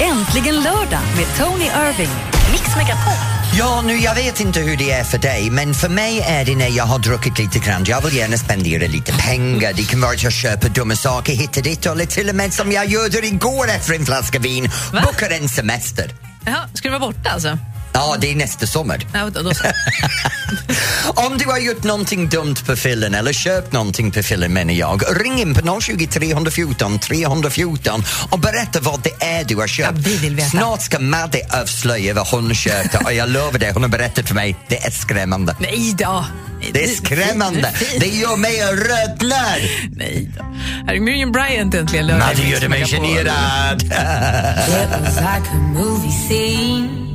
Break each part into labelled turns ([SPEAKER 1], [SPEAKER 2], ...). [SPEAKER 1] Äntligen lördag med Tony Irving. Mix Megapol.
[SPEAKER 2] Ja, nu jag vet inte hur det är för dig, men för mig är det när jag har druckit lite grann. Jag vill gärna spendera lite pengar. Det kan vara att jag köper dumma saker hit och dit eller till och med som jag gjorde igår efter en flaska vin,
[SPEAKER 3] Va?
[SPEAKER 2] bokar en semester.
[SPEAKER 3] Jaha, ska du vara borta alltså?
[SPEAKER 2] Ja, det är nästa sommar.
[SPEAKER 3] Ja, då, då. så.
[SPEAKER 2] Om du har gjort någonting dumt på fyllan eller köpt någonting på fyllan menar jag, ring in på 020 314 314 och berätta vad det är du har köpt.
[SPEAKER 3] Ja, vi vill veta.
[SPEAKER 2] Snart ska Madde avslöja vad hon köpte och jag lovar dig, hon har berättat för mig, det är skrämmande.
[SPEAKER 3] Nej då!
[SPEAKER 2] Det är skrämmande. Det gör mig rödlad.
[SPEAKER 3] Nej då. Här är Miriam Bryant äntligen lördag.
[SPEAKER 2] Madde
[SPEAKER 3] i Mix
[SPEAKER 2] gjorde mig
[SPEAKER 3] Megapol.
[SPEAKER 2] generad.
[SPEAKER 4] It was like a movie scene.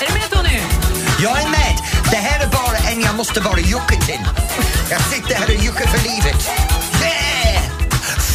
[SPEAKER 3] Är du med Tony?
[SPEAKER 2] Jag är med. Det här är bara en jag måste vara jucka till. Jag sitter här och juckar för livet. Yeah!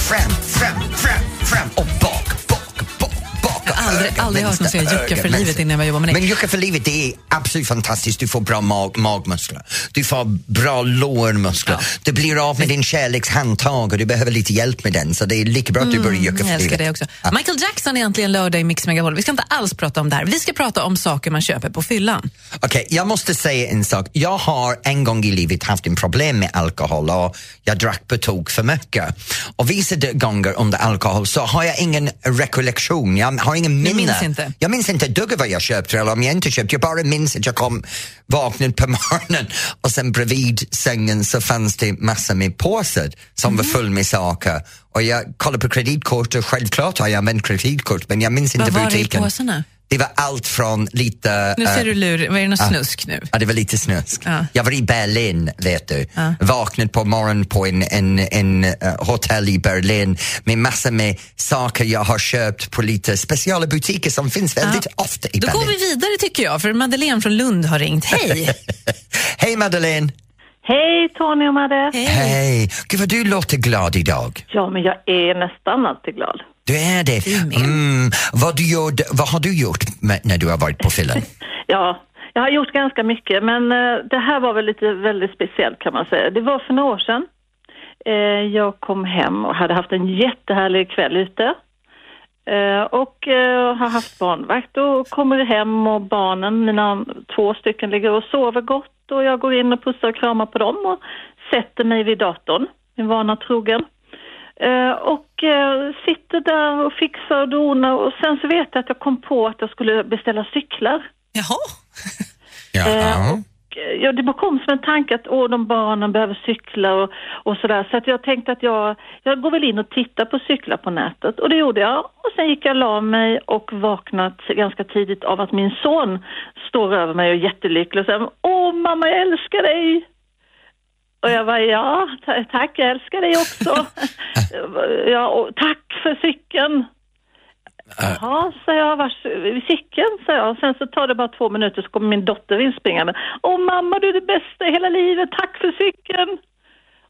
[SPEAKER 2] Fram, fram, fram, fram och bak, bak, bak, bak. Jag
[SPEAKER 3] har aldrig- aldrig hört någon säga jucka för livet innan jag började jobba med det.
[SPEAKER 2] Men jucka för livet det är absolut fantastiskt. Du får bra mag magmuskler, du får bra lårmuskler, du blir av med din kärlekshandtag och du behöver lite hjälp med den. Så det är lika bra att du börjar jucka för
[SPEAKER 3] Mm, Jag älskar
[SPEAKER 2] livet.
[SPEAKER 3] det också.
[SPEAKER 2] Ja.
[SPEAKER 3] Michael Jackson är äntligen lördag i Mix Megapol. Vi ska inte alls prata om det här. Vi ska prata om saker man köper på fyllan.
[SPEAKER 2] Okej, jag måste säga en sak. Jag har en gång i livet haft en problem med alkohol och jag drack på tok för mycket. Och vissa de- gånger under alkohol så har jag ingen rekollektion, jag har ingen minne.
[SPEAKER 3] minns inte.
[SPEAKER 2] Jag minns inte ett dugg av vad jag köpte eller om jag inte köpte. Jag bara minns att jag kom, vaknade på morgonen och sen bredvid sängen så fanns det massor med påsar som
[SPEAKER 3] Mhm.
[SPEAKER 2] var full med saker. Och jag kollade på kreditkort och självklart har jag använt kreditkort men jag minns inte
[SPEAKER 3] Vad var det i
[SPEAKER 2] butiken.
[SPEAKER 3] påsarna?
[SPEAKER 2] Det var allt från lite...
[SPEAKER 3] Nu
[SPEAKER 2] eh,
[SPEAKER 3] ser du lur. Vad är det någon snusk nu?
[SPEAKER 2] Ja, det var lite snusk.
[SPEAKER 3] Ja.
[SPEAKER 2] Jag var i Berlin, vet du. Vaknade på morgonen på en, en, en eh, hotell i Berlin med massor med saker jag har köpt på lite speciella butiker som finns väldigt ofta i
[SPEAKER 3] Då går
[SPEAKER 2] Berlin.
[SPEAKER 3] vi vidare tycker jag, för Madeleine från Lund har ringt. Hej!
[SPEAKER 2] Hej Madeleine!
[SPEAKER 5] Hej Tony och Madde!
[SPEAKER 2] Hej! Gud vad du låter glad idag.
[SPEAKER 5] Ja, men jag är nästan alltid glad.
[SPEAKER 2] Du är det. Mm. Vad, du gjorde, vad har du gjort med, när du har varit på fyllan?
[SPEAKER 5] Ja, jag har gjort ganska mycket, men eh, det här var väl lite väldigt speciellt kan man säga. Det var för några år sedan. Eh, jag kom hem och hade haft en jättehärlig kväll ute. Eh, och eh, har haft barnvakt och kommer hem och barnen, mina två stycken, ligger och sover gott och jag går in och pussar och kramar på dem och sätter mig vid datorn, min vana trogen. Eh, och eh, sitter där och fixar och donar och sen så vet jag att jag kom på att jag skulle beställa cyklar.
[SPEAKER 3] Jaha?
[SPEAKER 2] Ja.
[SPEAKER 5] Eh, och, eh, ja, det kom som en tanke att åh, de barnen behöver cykla och, och sådär. Så att jag tänkte att jag, jag går väl in och tittar på cyklar på nätet. Och det gjorde jag. Och sen gick jag och la mig och vaknat ganska tidigt av att min son står över mig och är jättelycklig och säger åh mamma jag älskar dig. Och jag bara, ja, ta- tack, jag älskar dig också. ja, och tack för cykeln. Ja, sa jag, vars, cykeln, sa jag. Sen så tar det bara två minuter så kommer min dotter inspringande. Åh mamma, du är det bästa i hela livet, tack för cykeln.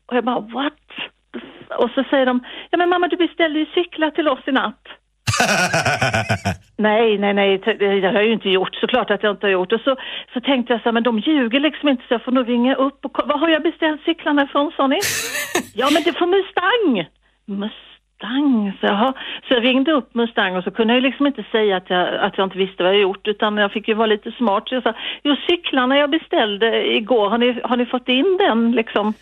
[SPEAKER 5] Och jag bara, what? Och så säger de, ja men mamma du beställde ju cyklar till oss i natt. Nej, nej, nej, t- det har jag ju inte gjort. Såklart att jag inte har gjort. Och så, så tänkte jag så här, men de ljuger liksom inte så jag får nog ringa upp och kolla. Var har jag beställt cyklarna ifrån, sa ni? ja, men det är från Mustang! Mustang, så jag, så jag ringde upp Mustang och så kunde jag ju liksom inte säga att jag, att jag inte visste vad jag gjort utan jag fick ju vara lite smart. Så jag sa, jo cyklarna jag beställde igår, har ni, har ni fått in den liksom,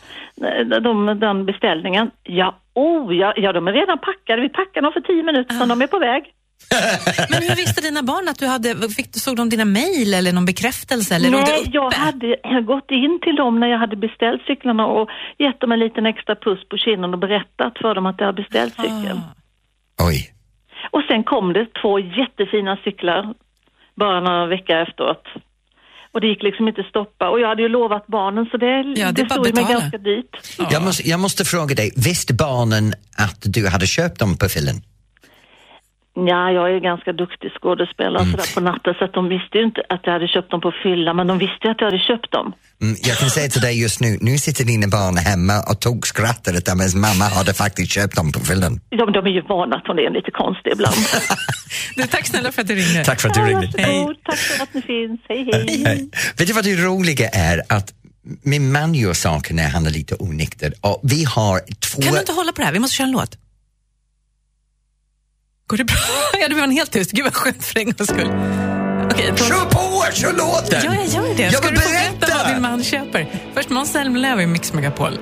[SPEAKER 5] eh, de, den beställningen? Ja, oh, ja, ja, de är redan packade. Vi packade dem för tio minuter sedan, de är på väg.
[SPEAKER 3] Men hur visste dina barn att du hade, fick, såg de dina mejl eller någon bekräftelse? Eller låg det
[SPEAKER 5] Nej,
[SPEAKER 3] uppe?
[SPEAKER 5] jag hade jag gått in till dem när jag hade beställt cyklarna och gett dem en liten extra puss på kinden och berättat för dem att jag hade beställt
[SPEAKER 3] Ah.
[SPEAKER 5] cykeln.
[SPEAKER 2] Oj.
[SPEAKER 5] Och sen kom det två jättefina cyklar bara några veckor efteråt. Och det gick liksom inte att stoppa. Och jag hade ju lovat barnen så det,
[SPEAKER 3] det är
[SPEAKER 5] det,
[SPEAKER 3] bara
[SPEAKER 5] stod ju mig
[SPEAKER 3] betala.
[SPEAKER 5] ganska dyrt.
[SPEAKER 2] Jag, måste, jag måste fråga dig, visste barnen att du hade köpt dem på fyllan?
[SPEAKER 5] Ja, jag är ganska duktig skådespelare
[SPEAKER 3] Mm.
[SPEAKER 5] och sådär på natten så att de visste ju inte att jag hade köpt dem på fylla men de visste ju att jag hade köpt dem.
[SPEAKER 2] Mm, jag kan säga till dig just nu, nu sitter dina barn hemma och tokskrattar att deras mamma hade faktiskt köpt dem på fyllan.
[SPEAKER 5] De, de är ju vana att hon är lite konstig ibland.
[SPEAKER 3] Du, tack snälla för att du ringde.
[SPEAKER 2] Tack för att du
[SPEAKER 5] Ja,
[SPEAKER 2] ringde.
[SPEAKER 5] varsågod. Tack för att ni finns. Hej, hej.
[SPEAKER 2] Vet du vad det roliga är? Att min man gör saker när han är lite onykter och vi har två...
[SPEAKER 3] Kan du inte hålla på det här? Vi måste köra en låt. Går det bra? Ja, du var helt tyst. Gud vad skönt för en gångs skull. Okej, då-
[SPEAKER 2] Kör på, kör låten!
[SPEAKER 3] Ja, jag gör det.
[SPEAKER 2] Jag
[SPEAKER 3] Ska
[SPEAKER 2] vill
[SPEAKER 3] du få berätta vad din
[SPEAKER 2] berätta!
[SPEAKER 3] man köper? Först Måns Zelmerlöw i Mix Megapol.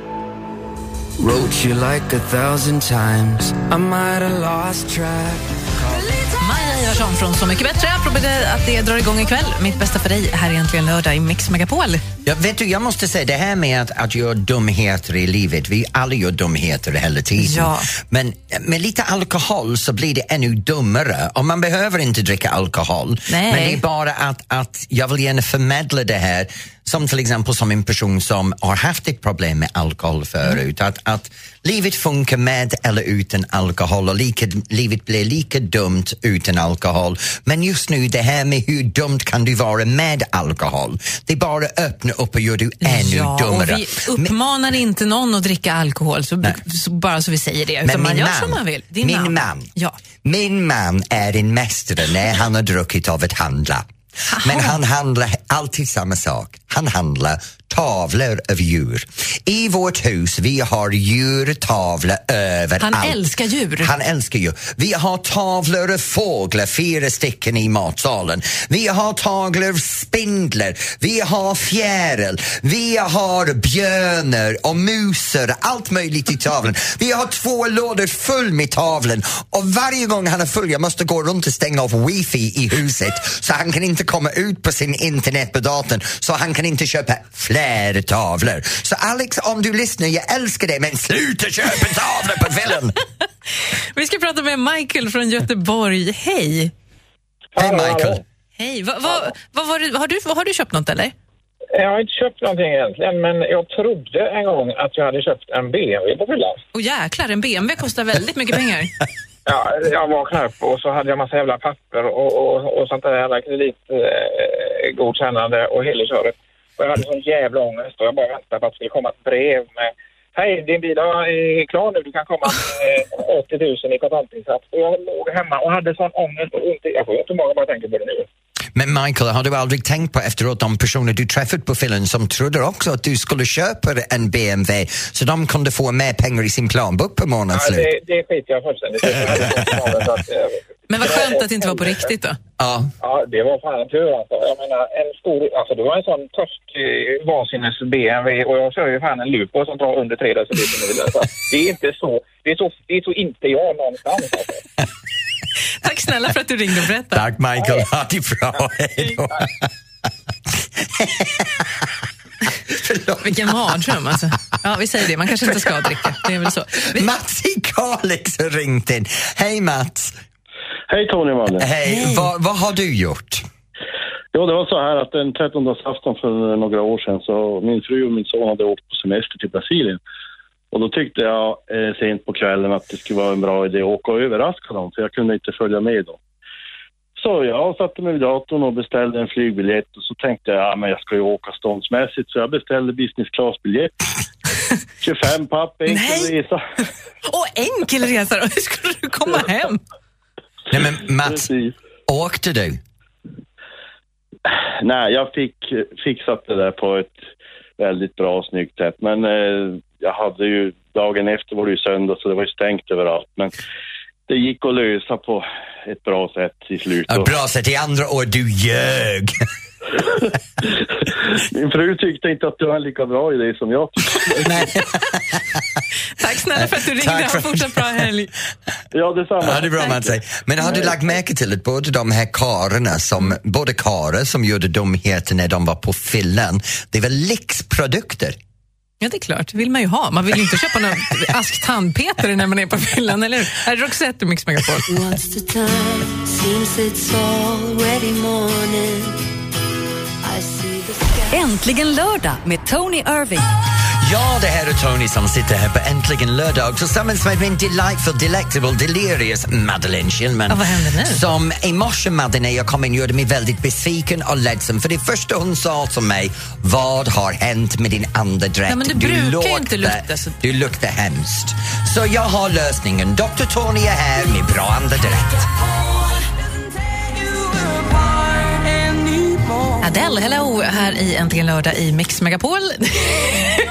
[SPEAKER 6] Wrote you like a thousand times. I might have lost track.
[SPEAKER 3] Maja Ivarsson från Så mycket bättre. Apropå det, att det drar igång ikväll. Mitt bästa för dig här är äntligen lördag i Mix Megapol.
[SPEAKER 2] Jag, vet du, jag måste säga, det här med att, att göra dumheter i livet, vi alla gör dumheter hela tiden.
[SPEAKER 3] Ja.
[SPEAKER 2] Men med lite alkohol så blir det ännu dummare. Och man behöver inte dricka alkohol.
[SPEAKER 3] Nej.
[SPEAKER 2] Men det är bara att, att jag vill gärna förmedla det här, som till exempel som en person som har haft ett problem med alkohol förut.
[SPEAKER 3] Mm.
[SPEAKER 2] Att, att livet funkar med eller utan alkohol och lika, livet blir lika dumt utan alkohol. Men just nu, det här med hur dumt kan du vara med alkohol? Det är bara att öppna upp och göra du ännu
[SPEAKER 3] och
[SPEAKER 2] dummare.
[SPEAKER 3] vi uppmanar inte någon att dricka alkohol, så, så, bara så vi säger det. Utan man gör som man vill. Din
[SPEAKER 2] min
[SPEAKER 3] man.
[SPEAKER 2] man,
[SPEAKER 3] Ja.
[SPEAKER 2] min man är en mästare när han har druckit av att handla. Men han handlar alltid samma sak. Han handlar tavlor av djur. I vårt hus vi har djurtavlor överallt.
[SPEAKER 3] Han älskar djur.
[SPEAKER 2] Han älskar djur. Vi har tavlor av fåglar, fyra stycken i matsalen. Vi har tavlor av spindlar, vi har fjäril, vi har björnar och musar, allt möjligt i tavlan. Vi har två lådor full med tavlan och varje gång han är full jag måste gå runt och stänga av wifi i huset så han kan inte komma ut på sin internet på datorn så han kan inte köpa fler tavlor. Så Alex, om du lyssnar, jag älskar dig men sluta köpa tavlor på kvällen!
[SPEAKER 3] Vi ska prata med Michael från Göteborg. Hej!
[SPEAKER 2] Hej Michael.
[SPEAKER 3] Hej! Va, va, vad var det, har, du, har du köpt något eller?
[SPEAKER 7] Jag har inte köpt någonting egentligen, men jag trodde en gång att jag hade köpt en BMW på fyllan.
[SPEAKER 3] Åh jäklar, en BMW kostar väldigt mycket pengar.
[SPEAKER 7] Ja, jag var knäpp och så hade jag massa jävla papper och, och, och sånt där jävla kreditgodkännande och hela köret. Och jag hade sån jävla ångest och jag bara väntade på att det skulle komma ett brev med Hej, din bil eh, är klar nu. Du kan komma med 80 000 i kontantinsats. Och jag låg hemma och hade sån ångest och ont i... Jag får ont i magen bara jag tänker på det nu.
[SPEAKER 2] Men Michael, har du aldrig tänkt på efteråt de personer du träffat på fyllan som trodde också att du skulle köpa en BMW så de kunde få mer pengar i sin planbok på månadens
[SPEAKER 7] Ja,
[SPEAKER 2] slut?
[SPEAKER 7] det, det skiter jag fullständigt i. Jag hade sån ångest att, eh,
[SPEAKER 3] Men vad skönt att det inte var på riktigt då.
[SPEAKER 2] Ja.
[SPEAKER 7] Ja, det var fan tur alltså. Jag menar, en stor, alltså det var en sån törstig vansinnes BMW och jag kör ju fan en Lupo som tar under 3 deciliter nu. Alltså, det är inte så, det är så, det är så inte jag någonstans alltså.
[SPEAKER 3] Tack snälla för att du ringde och berättade.
[SPEAKER 2] Tack Michael, ha det bra. Hej då. Förlåt.
[SPEAKER 3] Vilken mardröm alltså. Ja, vi säger det. Man kanske inte ska dricka. Det är väl så. Vi,
[SPEAKER 2] Mats i Kalix har ringt in. Hej Mats!
[SPEAKER 8] Hej Tony och Malin.
[SPEAKER 2] Hej, Vad, vad har du gjort?
[SPEAKER 8] Jo, det var så här att den 13 afton för några år sedan så min fru och min son hade åkt på semester till Brasilien. Och då tyckte jag eh, sent på kvällen att det skulle vara en bra idé att åka och överraska dem för jag kunde inte följa med dem. Så jag satte mig vid datorn och beställde en flygbiljett och så tänkte jag ja, men jag ska ju åka ståndsmässigt så jag beställde business class-biljett. 25 papp, enkel
[SPEAKER 3] Nej.
[SPEAKER 8] resa.
[SPEAKER 3] åh, enkel resa då. Hur skulle du komma hem?
[SPEAKER 2] Nej men Mats,
[SPEAKER 8] Precis.
[SPEAKER 2] åkte du?
[SPEAKER 8] Nej, jag fick fixat det där på ett väldigt bra, snyggt sätt. Men eh, jag hade ju, dagen efter var det ju söndag så det var ju stängt överallt. Men det gick att lösa på ett bra sätt i slutet.
[SPEAKER 2] Ja, bra, så det andra år du ljög.
[SPEAKER 8] Min fru tyckte inte att det var en lika bra idé som jag tyckte.
[SPEAKER 2] Nej.
[SPEAKER 3] Tack snälla för att du ringde.
[SPEAKER 2] Tack för-
[SPEAKER 3] Ha en fortsatt bra helg.
[SPEAKER 8] Ja, detsamma.
[SPEAKER 2] Ja, det är bra man säger. Men har du lagt märke till att både de här karlarna som, både karlar som gjorde dumheter när de var på fyllan, det var lyxprodukter.
[SPEAKER 3] Ja, det är klart. Det vill man ju ha. Man vill ju inte köpa någon ask tandpetare när man är på fyllan, eller hur? Här är Roxette och Mix Megapol.
[SPEAKER 4] What's the time? Seems it's already morning. I see the sky.
[SPEAKER 1] Äntligen lördag med Tony Irving.
[SPEAKER 2] Ja, det här är Tony som sitter här på Äntligen lördag tillsammans med min delightful, delectable, delirious Madeleine Schillman.
[SPEAKER 3] Ja, vad händer nu?
[SPEAKER 2] Som i morse, Madde, när jag kom in gjorde mig väldigt besviken och ledsen för det första hon sa till mig, vad har hänt med din andedräkt?
[SPEAKER 3] Ja, men du brukar ju inte lukta så-
[SPEAKER 2] Du luktar hemskt. Så jag har lösningen. Dr Tony är här med bra andedräkt.
[SPEAKER 3] Ja, Adele, hello, här i Äntligen lördag i Mix Megapol.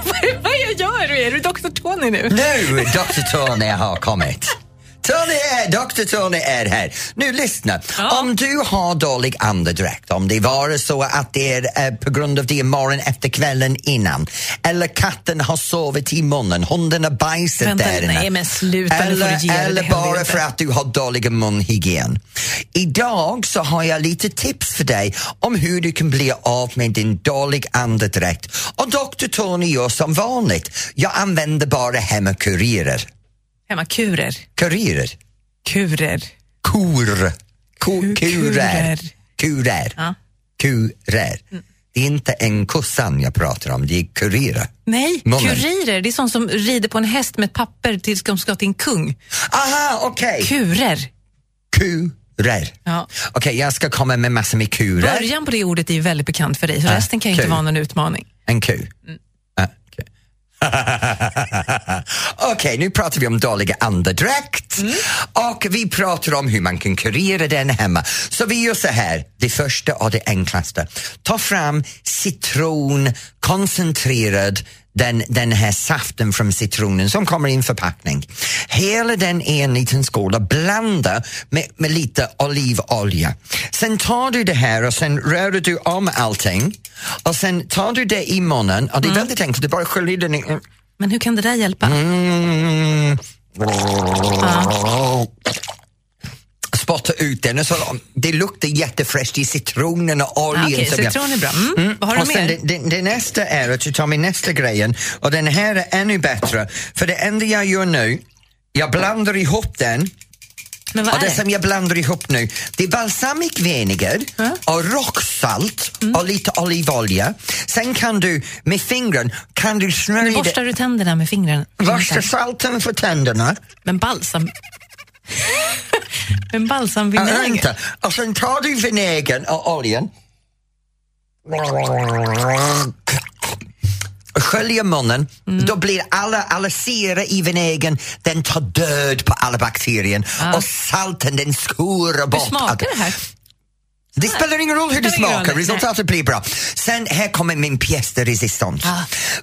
[SPEAKER 3] Vad- Vad jag gör? Är du Dr Tony nu?
[SPEAKER 2] Nu, Dr. Tony har kommit. Tony är, Dr. Tony är här. Nu lyssna, om du har dålig andedräkt, om det var så att det är eh, på grund av det morgon efter kvällen innan, eller katten har sovit i munnen, hunden har bajsat
[SPEAKER 3] Vänta,
[SPEAKER 2] där inne.
[SPEAKER 3] nej, men sluta, nu får du ge dig,
[SPEAKER 2] eller,
[SPEAKER 3] det
[SPEAKER 2] eller
[SPEAKER 3] händer
[SPEAKER 2] bara
[SPEAKER 3] inte.
[SPEAKER 2] för att du har dålig munhygien. Idag så har jag lite tips för dig om hur du kan bli av med din dålig andedräkt. Och Dr. Tony gör som vanligt. Jag använder bara hemmakurirer.
[SPEAKER 3] Hemma, kurer.
[SPEAKER 2] Kurirer?
[SPEAKER 3] Kurer.
[SPEAKER 2] Kur. Ku-
[SPEAKER 3] Ku-
[SPEAKER 2] Kurer.
[SPEAKER 3] kurer.
[SPEAKER 2] Kurer.
[SPEAKER 3] Ja. Mm.
[SPEAKER 2] Kurer. Det är inte en kossan jag pratar om, det är kurirer.
[SPEAKER 3] Nej,
[SPEAKER 2] Munnen.
[SPEAKER 3] kurirer. Det är sånt som rider på en häst med ett papper tills de ska till en kung.
[SPEAKER 2] Aha, okej.
[SPEAKER 3] Kurer.
[SPEAKER 2] Kurer.
[SPEAKER 3] Ja.
[SPEAKER 2] Okej, jag ska komma med massor med kurer.
[SPEAKER 3] Början på det ordet är ju väldigt bekant för dig, så
[SPEAKER 2] Ja,
[SPEAKER 3] resten kan ju inte
[SPEAKER 2] kul.
[SPEAKER 3] vara någon utmaning.
[SPEAKER 2] En ku? Ah, okej. Okej, nu pratar vi om dåliga andedräkt och vi pratar om hur man kan kurera den hemma. Så vi gör så här, det första och det enklaste. Ta fram citron, koncentrerad den, den här saften från citronen som kommer i en förpackning. Hela den i en liten skål och blanda med, med lite olivolja. Sen tar du det här och sen rör du om allting och sen tar du det i munnen och det är väldigt enkelt, du bara sköljer den i...
[SPEAKER 3] Men hur kan det där hjälpa?
[SPEAKER 2] Mm. Spotta ut den och så, det luktar jättefräscht i citronen och oljan.
[SPEAKER 3] Ah, Okej,
[SPEAKER 2] som jag-
[SPEAKER 3] citron är bra. Mm. Vad har
[SPEAKER 2] och
[SPEAKER 3] du
[SPEAKER 2] sen
[SPEAKER 3] mer?
[SPEAKER 2] det, det, det nästa är att du tar min nästa grejen och den här är ännu bättre. För det enda jag gör nu, jag blandar ihop den
[SPEAKER 3] Men vad
[SPEAKER 2] och det
[SPEAKER 3] är
[SPEAKER 2] som
[SPEAKER 3] det?
[SPEAKER 2] jag blandar ihop nu, det är balsamic vinegar och rocksalt
[SPEAKER 3] Mm.
[SPEAKER 2] och lite olivolja. Sen kan du med fingren, kan du
[SPEAKER 3] Nu
[SPEAKER 2] smörja
[SPEAKER 3] borstar
[SPEAKER 2] det.
[SPEAKER 3] du tänderna med fingrarna.
[SPEAKER 2] Borsta salten för tänderna.
[SPEAKER 3] Men balsam... Men
[SPEAKER 2] Ja,
[SPEAKER 3] balsamvinäger?
[SPEAKER 2] Vänta, och sen tar du vinägern och oljan. Sköljer munnen,
[SPEAKER 3] Mm.
[SPEAKER 2] då blir alla, alla syre i vinägern, den tar död på alla bakterier och salten den skurar
[SPEAKER 3] Hur
[SPEAKER 2] bort. allt.
[SPEAKER 3] smakar det här?
[SPEAKER 2] Det spelar ingen roll hur det
[SPEAKER 3] Spelar ingen
[SPEAKER 2] smakar,
[SPEAKER 3] roll,
[SPEAKER 2] resultatet blir bra. Sen här kommer min pièce de résistance.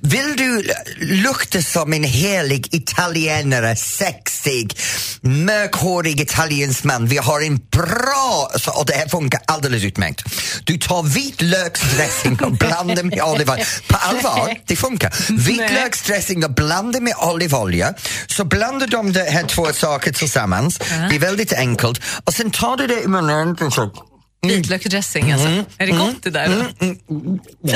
[SPEAKER 2] Vill du l- lukta som en helig italienare, sexig, mörkhårig italiensman, vi har en bra, så- och det här funkar alldeles utmärkt. Du tar vitlöksdressing och blandar med olivolja. På allvar, det funkar. Vitlöksdressing och blandar med olivolja. Så blandar de de här två sakerna tillsammans, det är väldigt enkelt. Och sen tar du det i munnen och så
[SPEAKER 3] Vitlöksdressing alltså.
[SPEAKER 2] Mm.
[SPEAKER 3] Är det gott det där? då?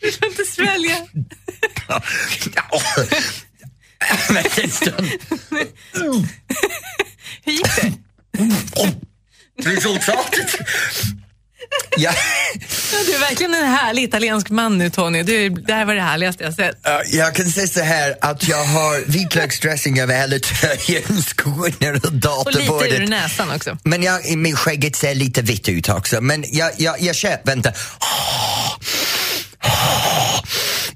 [SPEAKER 3] Du kan inte svälja.
[SPEAKER 2] Vänta en stund.
[SPEAKER 3] Hur gick det?
[SPEAKER 2] Resultatet. Ja,
[SPEAKER 3] Ja, Du är verkligen en härlig italiensk man nu Tony. Du, det här var det härligaste jag sett.
[SPEAKER 2] eh, jag kan säga så här att jag har vitlöksdressing över hela tröjan, skorna och
[SPEAKER 3] Och lite ur
[SPEAKER 2] datorbordet.
[SPEAKER 3] näsan också.
[SPEAKER 2] Men jag, min skägget ser lite vitt ut också. Men jag, jag, jag köper inte.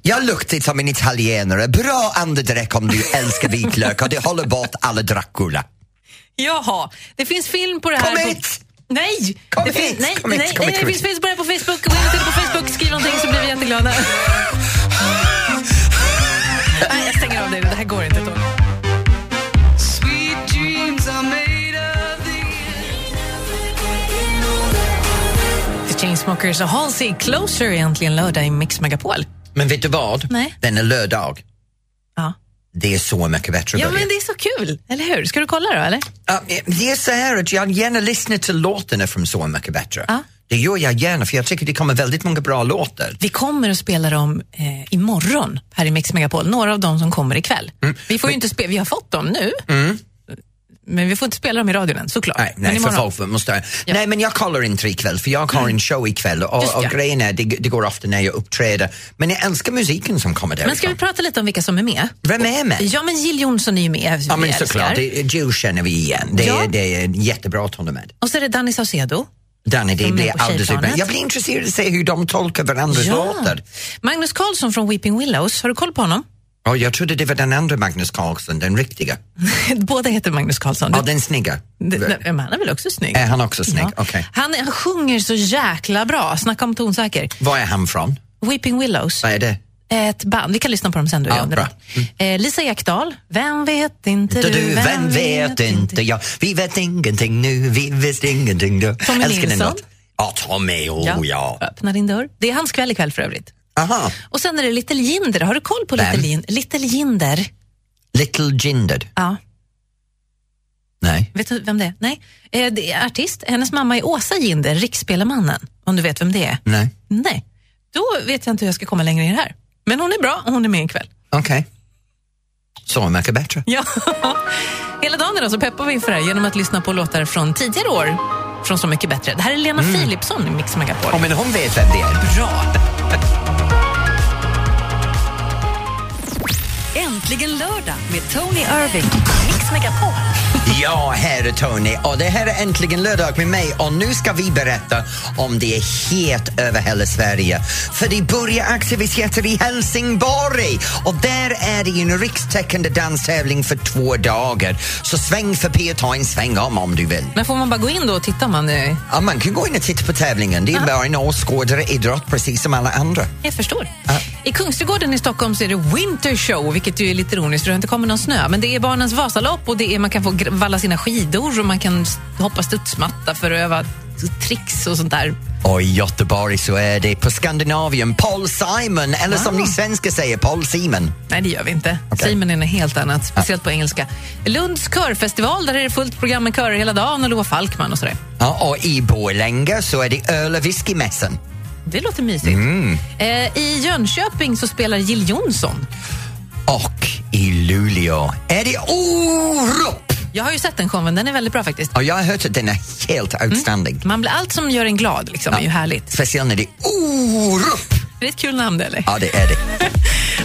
[SPEAKER 2] Jag luktar som en italienare. Bra andedräkt om du älskar vitlök och det håller bort alla Dracula.
[SPEAKER 3] Jaha, det finns film på det här.
[SPEAKER 2] Kom
[SPEAKER 3] på-
[SPEAKER 2] hit!
[SPEAKER 3] Nej!
[SPEAKER 2] Kom
[SPEAKER 3] det
[SPEAKER 2] hit,
[SPEAKER 3] finns- nej,
[SPEAKER 2] kom
[SPEAKER 3] nej,
[SPEAKER 2] hit, kom hit,
[SPEAKER 3] nej,
[SPEAKER 2] kom
[SPEAKER 3] det
[SPEAKER 2] hit.
[SPEAKER 3] finns finns bara på Facebook. Gå in och titta på Facebook, skriv någonting så blir vi jätteglada. nej, jag stänger av dig. Det här går inte Tony. The Chainsmokers och Halsey Closer är äntligen lördag i Mix Megapol.
[SPEAKER 2] Men vet du vad?
[SPEAKER 3] Nej.
[SPEAKER 2] Den är lördag.
[SPEAKER 3] Ja.
[SPEAKER 2] Det är så mycket bättre att
[SPEAKER 3] ja,
[SPEAKER 2] börja.
[SPEAKER 3] men det är så kul, eller hur? Ska du kolla då, eller?
[SPEAKER 2] Ja, eh, det är så här att jag gärna lyssnar till låtarna från Så mycket bättre.
[SPEAKER 3] Ja.
[SPEAKER 2] Det gör jag gärna för jag tycker det kommer väldigt många bra låtar.
[SPEAKER 3] Vi kommer att spela dem eh, imorgon här i Mix Megapol. Några av dem som kommer ikväll.
[SPEAKER 2] Mm.
[SPEAKER 3] Vi, får ju inte spela, vi har fått dem nu, men vi får inte spela dem i radion än, såklart.
[SPEAKER 2] Nej,
[SPEAKER 3] men
[SPEAKER 2] nej, för
[SPEAKER 3] imorgon.
[SPEAKER 2] folk måste... nej men jag kollar inte ikväll för jag har en show ikväll
[SPEAKER 3] Mm. Just
[SPEAKER 2] och, och
[SPEAKER 3] ja.
[SPEAKER 2] grejen är det, det går ofta när jag uppträder. Men jag älskar musiken som kommer
[SPEAKER 3] men ska vi
[SPEAKER 2] därifrån.
[SPEAKER 3] prata lite om vilka som är med?
[SPEAKER 2] Vem är med?
[SPEAKER 3] Ja, men Jill Johnson är ju med.
[SPEAKER 2] Ja men
[SPEAKER 3] vi älskar.
[SPEAKER 2] såklart, det, Jill känner vi igen. Det,
[SPEAKER 3] Ja.
[SPEAKER 2] är, det är jättebra att hon är med.
[SPEAKER 3] Och så är det Danny Saucedo.
[SPEAKER 2] Danny, det
[SPEAKER 3] är
[SPEAKER 2] blir
[SPEAKER 3] på
[SPEAKER 2] alldeles
[SPEAKER 3] tjejplanet.
[SPEAKER 2] utmärkt. Jag blir intresserad av att se hur de tolkar varandras låtar.
[SPEAKER 3] Magnus Karlsson från Weeping Willows, har du koll på honom?
[SPEAKER 2] Ja, jag trodde det var den andra Magnus Carlsen, den riktiga.
[SPEAKER 3] Båda heter Magnus Karlsson.
[SPEAKER 2] Ja,
[SPEAKER 3] Det-
[SPEAKER 2] den snygga.
[SPEAKER 3] det- nej, men han är väl också snygg?
[SPEAKER 2] Är han också snygg?
[SPEAKER 3] Ja.
[SPEAKER 2] Okej.
[SPEAKER 3] Han, han sjunger så jäkla bra. Snacka om tonsäker.
[SPEAKER 2] Var är han från?
[SPEAKER 3] Weeping Willows.
[SPEAKER 2] Vad är det?
[SPEAKER 3] Ett band. Vi kan lyssna på dem sen. Du,
[SPEAKER 2] Ja,
[SPEAKER 3] John.
[SPEAKER 2] bra.
[SPEAKER 3] Eh, Lisa Ekdahl. Vem vet inte
[SPEAKER 2] Du,
[SPEAKER 3] du,
[SPEAKER 2] du, vem vet inte jag? Vi vet ingenting nu, vi visste ingenting då.
[SPEAKER 3] Tommy Nilsson?
[SPEAKER 2] låten. Ja, Tommy, oh ja.
[SPEAKER 3] Öppna din dörr. Det är hans kväll ikväll för övrigt.
[SPEAKER 2] Aha,
[SPEAKER 3] Och sen är det Little Jinder. Har du koll på
[SPEAKER 2] Vem?
[SPEAKER 3] Little, Jin- Little Jinder?
[SPEAKER 2] Little Jindered.
[SPEAKER 3] Ja.
[SPEAKER 2] Nej.
[SPEAKER 3] Vet du vem det är? Nej. Eh, det är artist. Hennes mamma är Åsa Jinder, Riksspelarmannen. Om du vet vem det är?
[SPEAKER 2] Nej.
[SPEAKER 3] Nej. Då vet jag inte hur jag ska komma längre i det här. Men hon är bra och hon är med ikväll.
[SPEAKER 2] Okej. Så mycket bättre.
[SPEAKER 3] Ja. Hela dagen idag så peppar vi inför det här genom att lyssna på låtar från tidigare år från Så mycket bättre. Det här är Lena
[SPEAKER 1] Mm.
[SPEAKER 3] Philipsson i Mix Megapol.
[SPEAKER 2] Ja, men hon vet vem det är.
[SPEAKER 3] Bra!
[SPEAKER 1] Äntligen lördag med Tony Irving. Mix Megapol.
[SPEAKER 2] Ja, här är Tony och det här är äntligen lördag med mig och nu ska vi berätta om det är het över hela Sverige. För det börjar aktiviteter i Helsingborg och där är det ju en rikstäckande danstävling för två dagar. Så sväng förbi och ta en sväng om om du vill.
[SPEAKER 3] Men får man bara gå in då och titta om man... Eh,
[SPEAKER 2] Ja, man kan gå in och titta på tävlingen. Det är bara en åskådare idrott precis som alla andra.
[SPEAKER 3] jag förstår. I Kungsträdgården i Stockholm så är det Winter Show, vilket ju är lite ironiskt för det har inte kommit någon snö. Men det är barnens Vasalopp och det är, man kan få gr- valla sina skidor och man kan s- hoppa studsmatta för att öva tricks och sånt där.
[SPEAKER 2] Och i Göteborg så är det på Skandinavien Paul Simon, eller som
[SPEAKER 3] Wow.
[SPEAKER 2] ni svenskar säger, Paul Simon.
[SPEAKER 3] Nej, det gör vi inte.
[SPEAKER 2] Okej.
[SPEAKER 3] Simon är något helt annat, speciellt på engelska. Lunds körfestival, där är det fullt program med körer hela dagen och Loa Falkman och sådär.
[SPEAKER 2] Ja, och i Borlänge så är det öl och whiskymässan.
[SPEAKER 3] Det låter mysigt.
[SPEAKER 2] Mm.
[SPEAKER 3] Eh, I Jönköping så spelar Jill Johnson.
[SPEAKER 2] Och i Luleå är det Orup!
[SPEAKER 3] Jag har ju sett den showen, den är väldigt bra faktiskt.
[SPEAKER 2] Och jag har hört att den är helt
[SPEAKER 3] Mm.
[SPEAKER 2] outstanding.
[SPEAKER 3] Man blir allt som gör en glad liksom, är ju härligt.
[SPEAKER 2] Speciellt när det är Orup!
[SPEAKER 3] Det är ett kul namn, eller?
[SPEAKER 2] Ja, det är det.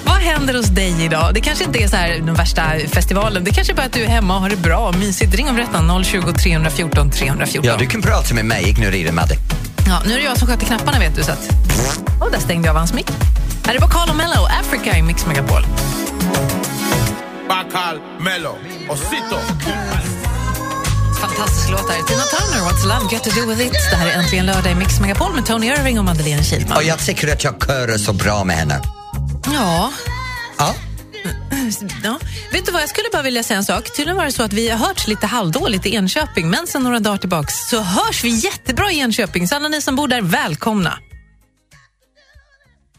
[SPEAKER 3] Vad händer hos dig idag? Det kanske inte är så här den värsta festivalen. Det kanske är bara att du är hemma och har det bra och mysigt. Ring och berätta 020 314 314.
[SPEAKER 2] Ja, du kan prata med mig, ignorera Madde.
[SPEAKER 3] Ja, nu är det jag som sköter knapparna vet du så att... Och där stängde jag av hans mick. Här är Bacalo Mello, Africa i Mix Megapol.
[SPEAKER 9] Bacal, Melo, Osito.
[SPEAKER 3] Fantastisk låt där. Tina Turner, What's Love Got To Do With It. Det här är äntligen lördag i Mix Megapol med Tony Irving och Madeleine Kihlman.
[SPEAKER 2] Och jag tycker att jag körar så bra med henne.
[SPEAKER 3] Ja.
[SPEAKER 2] Ja.
[SPEAKER 3] ja. Vet du vad, jag skulle bara vilja säga en sak. Tydligen var det så att vi har hört lite halvdåligt i Enköping, men sen några dagar tillbaks så hörs vi jättebra i Enköping. Så alla ni som bor där, välkomna.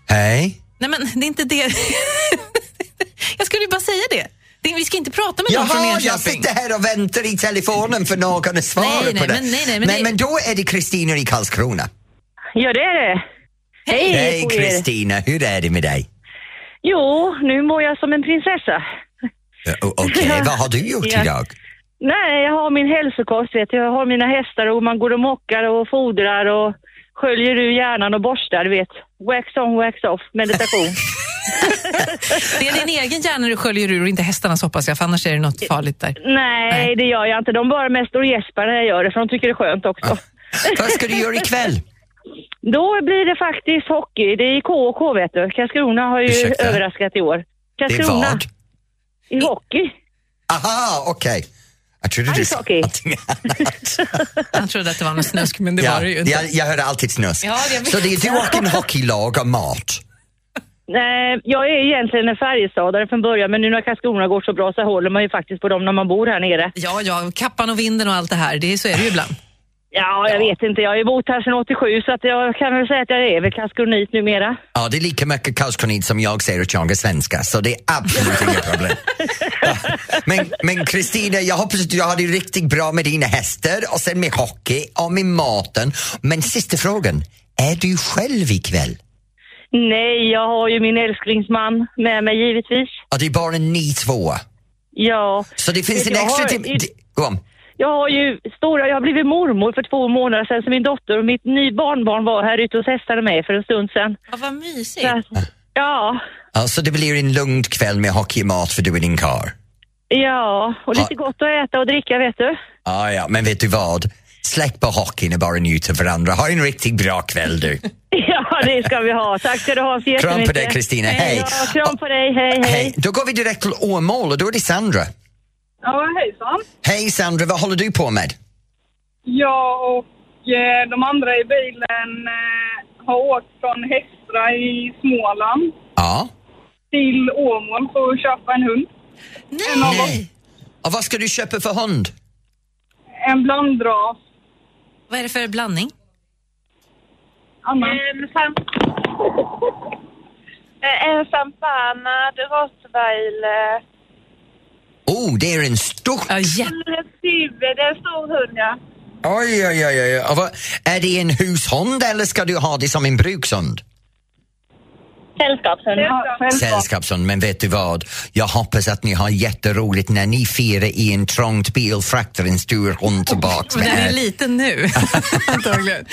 [SPEAKER 2] Hej.
[SPEAKER 3] Nej men, det är inte det. jag skulle ju bara säga det. det. Vi ska inte prata med någon från
[SPEAKER 2] Jaha, jag
[SPEAKER 3] Enköping.
[SPEAKER 2] sitter här och väntar i telefonen för någon att svara
[SPEAKER 3] Nej, nej,
[SPEAKER 2] på det.
[SPEAKER 3] men- nej, nej, men
[SPEAKER 2] men,
[SPEAKER 3] det-
[SPEAKER 2] men då är det Kristina i Karlskrona.
[SPEAKER 10] Ja, det är det. Hej
[SPEAKER 2] Hej
[SPEAKER 10] på er.
[SPEAKER 2] Kristina, hur är det med dig?
[SPEAKER 10] Jo, nu mår jag som en prinsessa.
[SPEAKER 2] Ö, o- Okej, vad har du gjort
[SPEAKER 10] Ja.
[SPEAKER 2] idag?
[SPEAKER 10] Nej, jag har min hälsokost, vet du. Jag har mina hästar och man går och mockar och fodrar och sköljer ur hjärnan och borstar, du vet. Wax on, wax off, meditation.
[SPEAKER 3] Det är din egen hjärna du sköljer ur och inte hästarnas hoppas jag, för annars är det något farligt där.
[SPEAKER 10] Nej,
[SPEAKER 3] Nej.
[SPEAKER 10] det gör jag inte. De bara mest och gäspar när jag gör det, för de tycker det är skönt också.
[SPEAKER 2] Ah. Vad ska du göra ikväll?
[SPEAKER 10] Då blir det faktiskt hockey. Det är i KK, vet du. Karlskrona har ju
[SPEAKER 2] Ursäkta?
[SPEAKER 10] överraskat i år.
[SPEAKER 2] Det är
[SPEAKER 10] Karlskrona
[SPEAKER 2] vad?
[SPEAKER 10] i hockey.
[SPEAKER 2] Aha, okej. Jag trodde du sa
[SPEAKER 10] Ishockey.
[SPEAKER 2] någonting annat.
[SPEAKER 3] Han trodde att det var något snusk, men det var
[SPEAKER 2] ja,
[SPEAKER 3] det ju inte.
[SPEAKER 2] jag, jag hör alltid snus.
[SPEAKER 3] Ja, jag vet.
[SPEAKER 2] Så det är du och en hockeylag och mat.
[SPEAKER 10] Nej, jag är egentligen en Färjestadare från början, men nu när Karlskrona går så bra så håller man ju faktiskt på dem när man bor här nere.
[SPEAKER 3] Ja, ja, kappan och vinden och allt det här, det, är- så är det ju ibland.
[SPEAKER 10] Ja, jag vet inte. Jag har ju bott här sedan 87 så att jag kan väl säga att jag är väl karlskronit numera.
[SPEAKER 2] Ja, det är lika mycket karlskronit som jag säger att jag är svenska, så det är absolut inga problem. Ja. Men- Men Kristina, jag hoppas att du har det riktigt bra med dina hästar och sen med hockey och med maten. Men sista frågan, är du själv ikväll?
[SPEAKER 10] Nej, jag har ju min älsklingsman med mig givetvis.
[SPEAKER 2] Ja, det är bara ni två.
[SPEAKER 10] Ja,
[SPEAKER 2] Så det finns
[SPEAKER 10] Vet
[SPEAKER 2] en
[SPEAKER 10] du, jag
[SPEAKER 2] extra
[SPEAKER 10] har-
[SPEAKER 2] timme...
[SPEAKER 10] i-
[SPEAKER 2] Gå om.
[SPEAKER 10] jag har ju stora, jag har blivit mormor för två månader sedan så min dotter och mitt ny barnbarn var här ute hos hästarna med för en stund sedan.
[SPEAKER 3] Ja, vad mysigt.
[SPEAKER 10] Så att- Ja,
[SPEAKER 2] Ja, så det blir en lugn kväll med hockeymat för du och din kar.
[SPEAKER 10] ja, och lite
[SPEAKER 2] Ja.
[SPEAKER 10] gott att äta och dricka vet du.
[SPEAKER 2] Ja, ja, men vet du vad? Släck på hockeyn och bara njut av varandra. Ha en riktigt bra kväll du.
[SPEAKER 10] Ja, det ska vi ha. Tack ska du ha så jättemycket.
[SPEAKER 2] Kram på dig, Kristina. Hej.
[SPEAKER 10] Ja, kram på dig. Hej, hej.
[SPEAKER 2] Hej. Då går vi direkt till Åmål och då är det Sandra.
[SPEAKER 11] Ja, hejsan.
[SPEAKER 2] Hej Sandra, vad håller du på med?
[SPEAKER 11] Jag och eh, de andra i bilen eh, har åkt från Hästra i Småland
[SPEAKER 2] Ja.
[SPEAKER 11] till Åmål för att köpa en hund. En, av oss,
[SPEAKER 2] Och vad ska du köpa för hund?
[SPEAKER 11] en blandras.
[SPEAKER 3] Vad är det för blandning?
[SPEAKER 11] Anna?
[SPEAKER 10] Eh,
[SPEAKER 12] En sampanad, rottweiler.
[SPEAKER 2] Oh, det är en stor...
[SPEAKER 3] Ja,
[SPEAKER 12] En tjuve, det är en stor hund ja.
[SPEAKER 2] Oj, oj, oj, oj. Och vad, är det en hushund eller ska du ha det som en brukshund?
[SPEAKER 12] Sällskapshund.
[SPEAKER 2] Sällskapshund, men vet du vad? Jag hoppas att ni har jätteroligt när ni firar i en trångt bil, fraktar en stor hund tillbaks
[SPEAKER 3] Den
[SPEAKER 2] med
[SPEAKER 3] är
[SPEAKER 2] er.
[SPEAKER 3] liten nu, antagligen.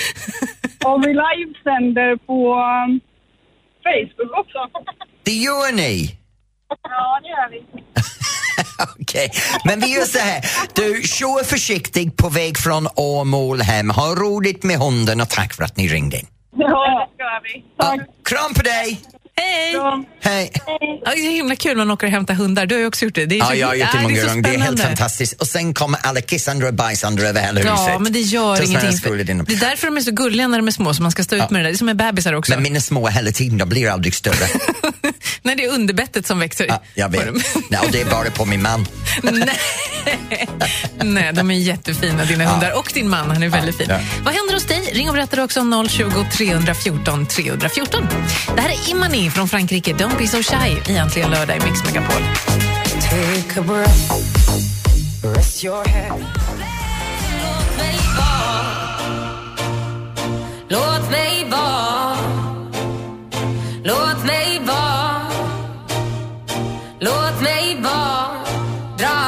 [SPEAKER 11] Och vi livesänder på um, Facebook också.
[SPEAKER 2] Det gör ni!
[SPEAKER 11] Ja, det gör vi.
[SPEAKER 2] Okej, men vi gör så här. Du, kör försiktigt på väg från Åmål hem. Ha roligt med hunden och tack för att ni ringde.
[SPEAKER 11] Ja, det ska vi. Tack.
[SPEAKER 2] Kram på dig!
[SPEAKER 3] Hej!
[SPEAKER 2] Hej!
[SPEAKER 3] Ja, det är himla kul när man åker och hämtar hundar. Du har ju också gjort det. det är
[SPEAKER 2] Ja, jag har gjort det
[SPEAKER 3] Ja,
[SPEAKER 2] många gånger. Det är helt
[SPEAKER 3] spännande.
[SPEAKER 2] fantastiskt. Och sen kommer alla kissandra och bajsandra över hela huset.
[SPEAKER 3] Ja, men det gör
[SPEAKER 2] Tills
[SPEAKER 3] ingenting.
[SPEAKER 2] när jag skulle in och-
[SPEAKER 3] Det är därför de är så gulliga när de är små, så man ska stå ut med det där. Det är som med bebisar också.
[SPEAKER 2] Men mina små hela tiden, de blir aldrig större.
[SPEAKER 3] Nej, det är underbettet som växer.
[SPEAKER 2] Jag vet. Nej, och det är bara på min man.
[SPEAKER 3] Nej. Nej, de är jättefina dina hundar. Och din man, han är väldigt fin.
[SPEAKER 2] ja.
[SPEAKER 3] Vad händer hos dig? Ring och berätta också 020 314 314. Det här är Imani från Frankrike. Don't be so shy. Egentligen lördag i Mix Megapol.
[SPEAKER 6] Take a breath, rest your head.
[SPEAKER 4] Låt mig vara Låt mig vara Låt mig vara Dra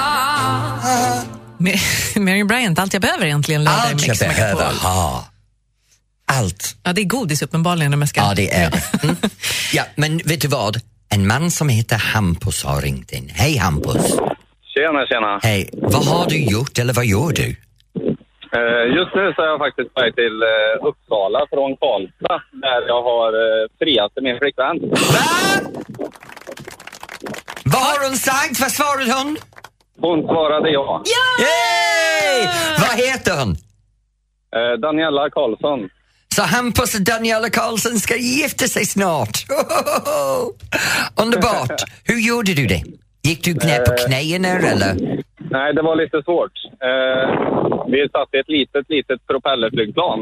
[SPEAKER 3] Ma- Mary Bryant, allt jag behöver egentligen lördag i
[SPEAKER 2] Allt jag
[SPEAKER 3] Mix Megapol.
[SPEAKER 2] behöver ha. Allt.
[SPEAKER 3] Ja, det är godis uppenbarligen de här ska.
[SPEAKER 2] Ja, det är det. Mm. Ja, men vet du vad? En man som heter Hampus har ringt in. Hej Hampus!
[SPEAKER 13] Tjena, tjena.
[SPEAKER 2] Hej. Vad har du gjort eller vad gör du?
[SPEAKER 13] Eh, Just nu så är jag faktiskt på väg till eh, Uppsala från Karlstad där jag har eh, friat till min flickvän.
[SPEAKER 2] Vad har hon sagt? Vad svarade hon?
[SPEAKER 13] Hon svarade ja.
[SPEAKER 2] Yay! Vad heter hon?
[SPEAKER 13] Eh, Daniela Karlsson.
[SPEAKER 2] Så Hampus och Daniela Karlsson ska gifta sig snart. Underbart! Hur gjorde du det? Gick du knä på knäna eller?
[SPEAKER 13] Nej, det var lite svårt. Eh, Vi satt i ett litet, litet propellerflygplan.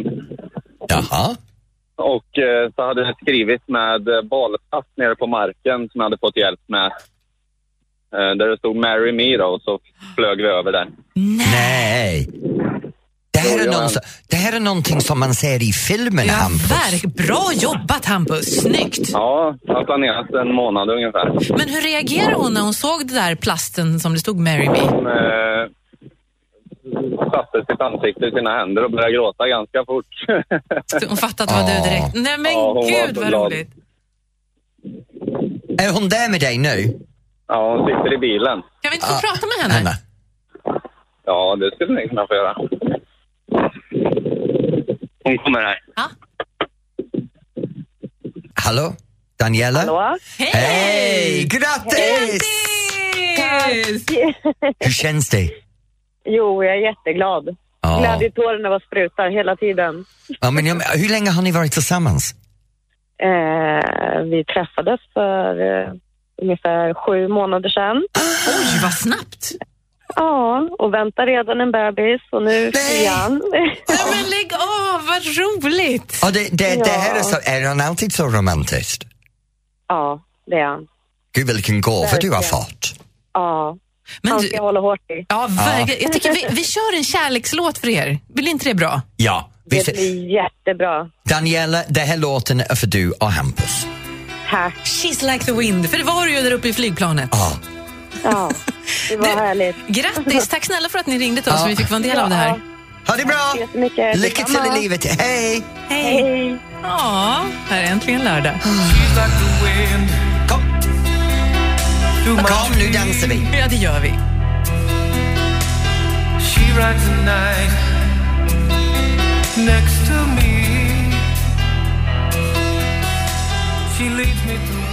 [SPEAKER 2] Jaha.
[SPEAKER 13] Och eh, så hade jag skrivit med eh, balplast nere på marken som jag hade fått hjälp med. Eh, Där det stod “Marry me” då, och så flög vi över där.
[SPEAKER 2] Nej! Det här, är någon, som- det här är någonting som man ser i filmen, Hampus.
[SPEAKER 3] Verk, bra jobbat Hampus, snyggt!
[SPEAKER 13] Ja, jag har planerat en månad ungefär.
[SPEAKER 3] Men hur reagerade hon när hon såg det där plasten som det stod Mary Me?
[SPEAKER 13] Hon eh, satte sitt ansikte i sina händer och började gråta ganska fort.
[SPEAKER 3] Hon fattade att det var du direkt. Nej men
[SPEAKER 13] Ja, hon var
[SPEAKER 3] gud
[SPEAKER 13] så
[SPEAKER 3] vad
[SPEAKER 13] glad.
[SPEAKER 3] roligt!
[SPEAKER 2] Är hon där med dig nu?
[SPEAKER 13] Ja, hon sitter i bilen.
[SPEAKER 3] Kan vi inte få prata med henne?
[SPEAKER 13] Ja, det skulle ni kunna få göra. Hon kommer här.
[SPEAKER 2] Hallå? Daniela?
[SPEAKER 4] Hej!
[SPEAKER 2] Hej! Grattis! Hur känns det?
[SPEAKER 14] Jo, jag är jätteglad.
[SPEAKER 2] Ja.
[SPEAKER 14] Glad i tårarna vad sprutar hela tiden.
[SPEAKER 2] Ja, men, jag- hur länge har ni varit tillsammans?
[SPEAKER 14] Eh, vi träffades för eh, ungefär sju månader sedan.
[SPEAKER 3] Oj, vad snabbt!
[SPEAKER 14] Ja, och väntar redan en bebis och nu igen.
[SPEAKER 3] Nej men lägg av, vad roligt!
[SPEAKER 2] Ja, det, det, det här är,
[SPEAKER 14] Ja.
[SPEAKER 2] så, är han alltid så romantisk?
[SPEAKER 14] ja, det är han.
[SPEAKER 2] Gud, vilken gåva du har
[SPEAKER 14] Verkligen.
[SPEAKER 2] fått.
[SPEAKER 14] Ja. han ska hålla hårt i.
[SPEAKER 3] Ja, Verkligen. Jag tycker vi, vi kör en kärlekslåt för er. Blir inte det bra?
[SPEAKER 2] Ja, visst.
[SPEAKER 14] Det blir jättebra.
[SPEAKER 2] Daniela, det här låten är för du och Hampus.
[SPEAKER 14] Tack.
[SPEAKER 3] She's like the wind, för det var du ju där uppe i flygplanet.
[SPEAKER 2] Ja.
[SPEAKER 14] Ja, det var härligt.
[SPEAKER 3] Grattis, tack snälla för att ni ringde till oss
[SPEAKER 2] Ja.
[SPEAKER 3] så vi fick vara en del av det här.
[SPEAKER 2] Ha det bra! Lycka till i livet. Hej!
[SPEAKER 3] Hej! Ja, här är äntligen lördag.
[SPEAKER 2] Kom! Kom, nu dansar vi.
[SPEAKER 3] Ja, det gör vi.
[SPEAKER 15] She rides the night next to me. She leads me to moonlight.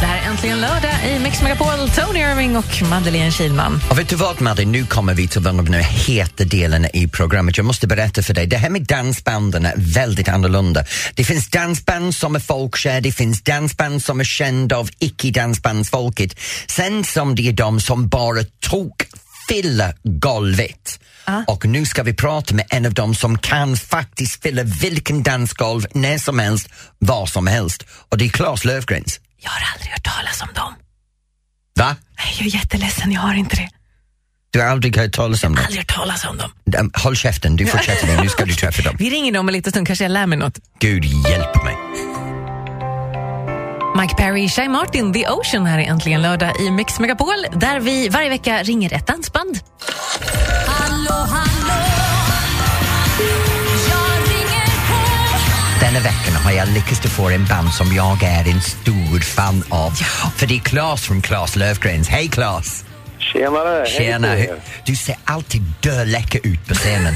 [SPEAKER 3] Det här är äntligen lördag i Mix Megapol. Tony Irving och Madeleine Kilman.
[SPEAKER 2] Och vet du vad Madde, nu kommer vi till den av de heta delarna i programmet. Jag måste berätta för dig, det här med dansbanden är väldigt annorlunda. Det finns dansband som är folkkär, det finns dansband som är kända av icke-dansbandsfolket. Sen som det är de som bara tok fylla golvet. Och nu ska vi prata med en av dem som kan faktiskt fylla vilken dansgolv när som helst, var som helst. Och det är Claes Löfgrens.
[SPEAKER 3] Jag har aldrig hört talas om dem.
[SPEAKER 2] Va?
[SPEAKER 3] Nej, jag är jätteledsen, jag har inte det.
[SPEAKER 2] Du har aldrig hört talas om
[SPEAKER 3] Jag
[SPEAKER 2] dem?
[SPEAKER 3] har aldrig hört talas om dem.
[SPEAKER 2] Um, Håll käften, du får käften, nu ska du träffa dem.
[SPEAKER 3] Vi ringer dem en liten stund, kanske jag lär mig något.
[SPEAKER 2] Gud hjälp mig.
[SPEAKER 3] Mike Perry, Shai Martin, The Ocean här är äntligen lördag i Mix Megapol där vi varje vecka ringer ett dansband.
[SPEAKER 2] Denna veckan har jag lyckats få en band som jag är en stor fan av. För det är Claes från Claes Löfgrens. Hej Claes!
[SPEAKER 16] Tjenare!
[SPEAKER 2] Tjena!
[SPEAKER 16] hej på
[SPEAKER 2] hur-
[SPEAKER 16] er.
[SPEAKER 2] Du ser alltid döläcker ut på scenen.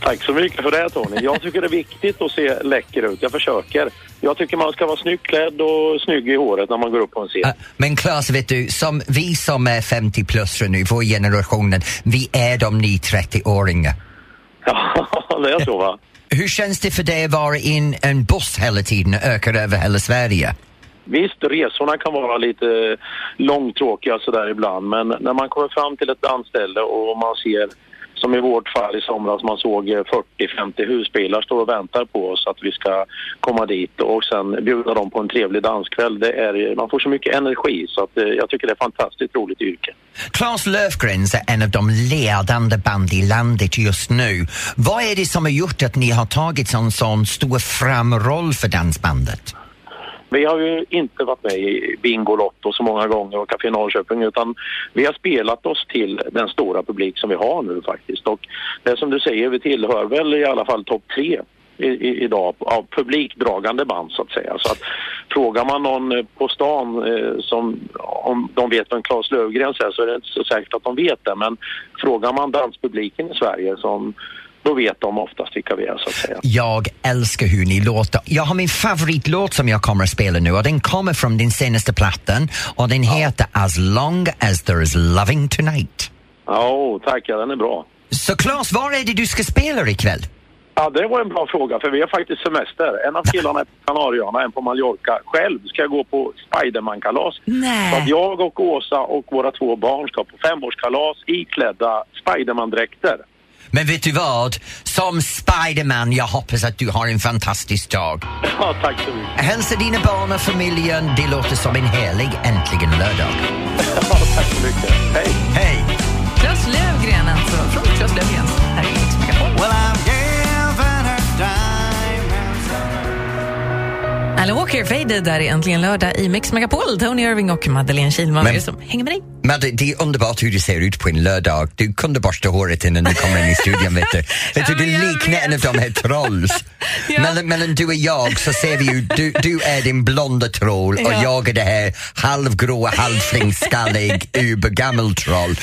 [SPEAKER 16] Tack så mycket för det Tony. Jag tycker det är viktigt att se läcker ut. Jag försöker. Jag tycker man ska vara snyggt klädd och snygg i håret när man går upp på en scen.
[SPEAKER 2] Äh, Men Claes, vet du, som vi som är 50 plus nu, vår generationen, vi är de ni 30-åringar.
[SPEAKER 16] Ja, det är så va?
[SPEAKER 2] Hur känns det för dig att vara in en buss hela tiden och öka över hela Sverige?
[SPEAKER 16] Visst, resorna kan vara lite långtråkiga sådär ibland men när man kommer fram till ett dansställe och man ser som i vårt fall i somras, man såg eh, 40-50 husbilar stå och väntar på oss att vi ska komma dit och sen bjuda dem på en trevlig danskväll. Det är, man får så mycket energi så att eh, jag tycker det är ett fantastiskt roligt yrke.
[SPEAKER 2] Claes Löfgrens är en av de ledande band i landet just nu. Vad är det som har gjort att ni har tagit en sån stor framroll för dansbandet?
[SPEAKER 16] Vi har ju inte varit med i Bingolotto så många gånger och Café Norrköping utan vi har spelat oss till den stora publik som vi har nu faktiskt. Och det är som du säger, vi tillhör väl i alla fall topp tre i, i, idag av publikdragande band så att säga. Så att frågar man någon eh, på stan eh, som, om de vet vem Claes Löfgrens är så är det inte så säkert att de vet det men frågar man danspubliken i Sverige som, då vet de oftast vilka vi är så att säga.
[SPEAKER 2] Jag älskar hur ni låter. Jag har min favoritlåt som jag kommer att spela nu och den kommer från din senaste plattan och den heter As long as there is loving tonight.
[SPEAKER 16] Ja, oh, tack, ja, den är bra.
[SPEAKER 2] Så Claes, var är det du ska spela ikväll?
[SPEAKER 16] Ja, det var en bra fråga, för vi har faktiskt semester. En av killarna är på Kanarieöarna, en på Mallorca. Själv ska jag gå på Spiderman-kalas.
[SPEAKER 3] Nej.
[SPEAKER 16] Så att jag och Åsa och våra två barn ska på femårskalas iklädda Spiderman-dräkter.
[SPEAKER 2] Men vet du vad? Som Spiderman, jag hoppas att du har en fantastisk dag.
[SPEAKER 16] Ja, tack så mycket.
[SPEAKER 2] Hälsa dina barn och familjen. Det låter som en helig äntligen lördag.
[SPEAKER 16] tack så mycket. Hej!
[SPEAKER 2] Hej!
[SPEAKER 3] Claes Löfgren alltså, från Claes Löfgren. Här är Mix Megapol. Alan Walker, Faded, där är äntligen lördag i Mix Megapol. Tony Irving och Madeleine Kilman
[SPEAKER 2] Men-
[SPEAKER 3] är det som hänger med dig.
[SPEAKER 2] Men det, det är underbart hur du ser ut på en lördag. Du kunde borsta håret innan du kom in i studion. Vet du. Vet du, du liknar en av de här trolls. mellan, mellan du och jag så ser vi ju, du, du är din blonda troll och
[SPEAKER 17] Ja.
[SPEAKER 2] jag är det här halvgråa, halvflingskallig, ubergammeltroll.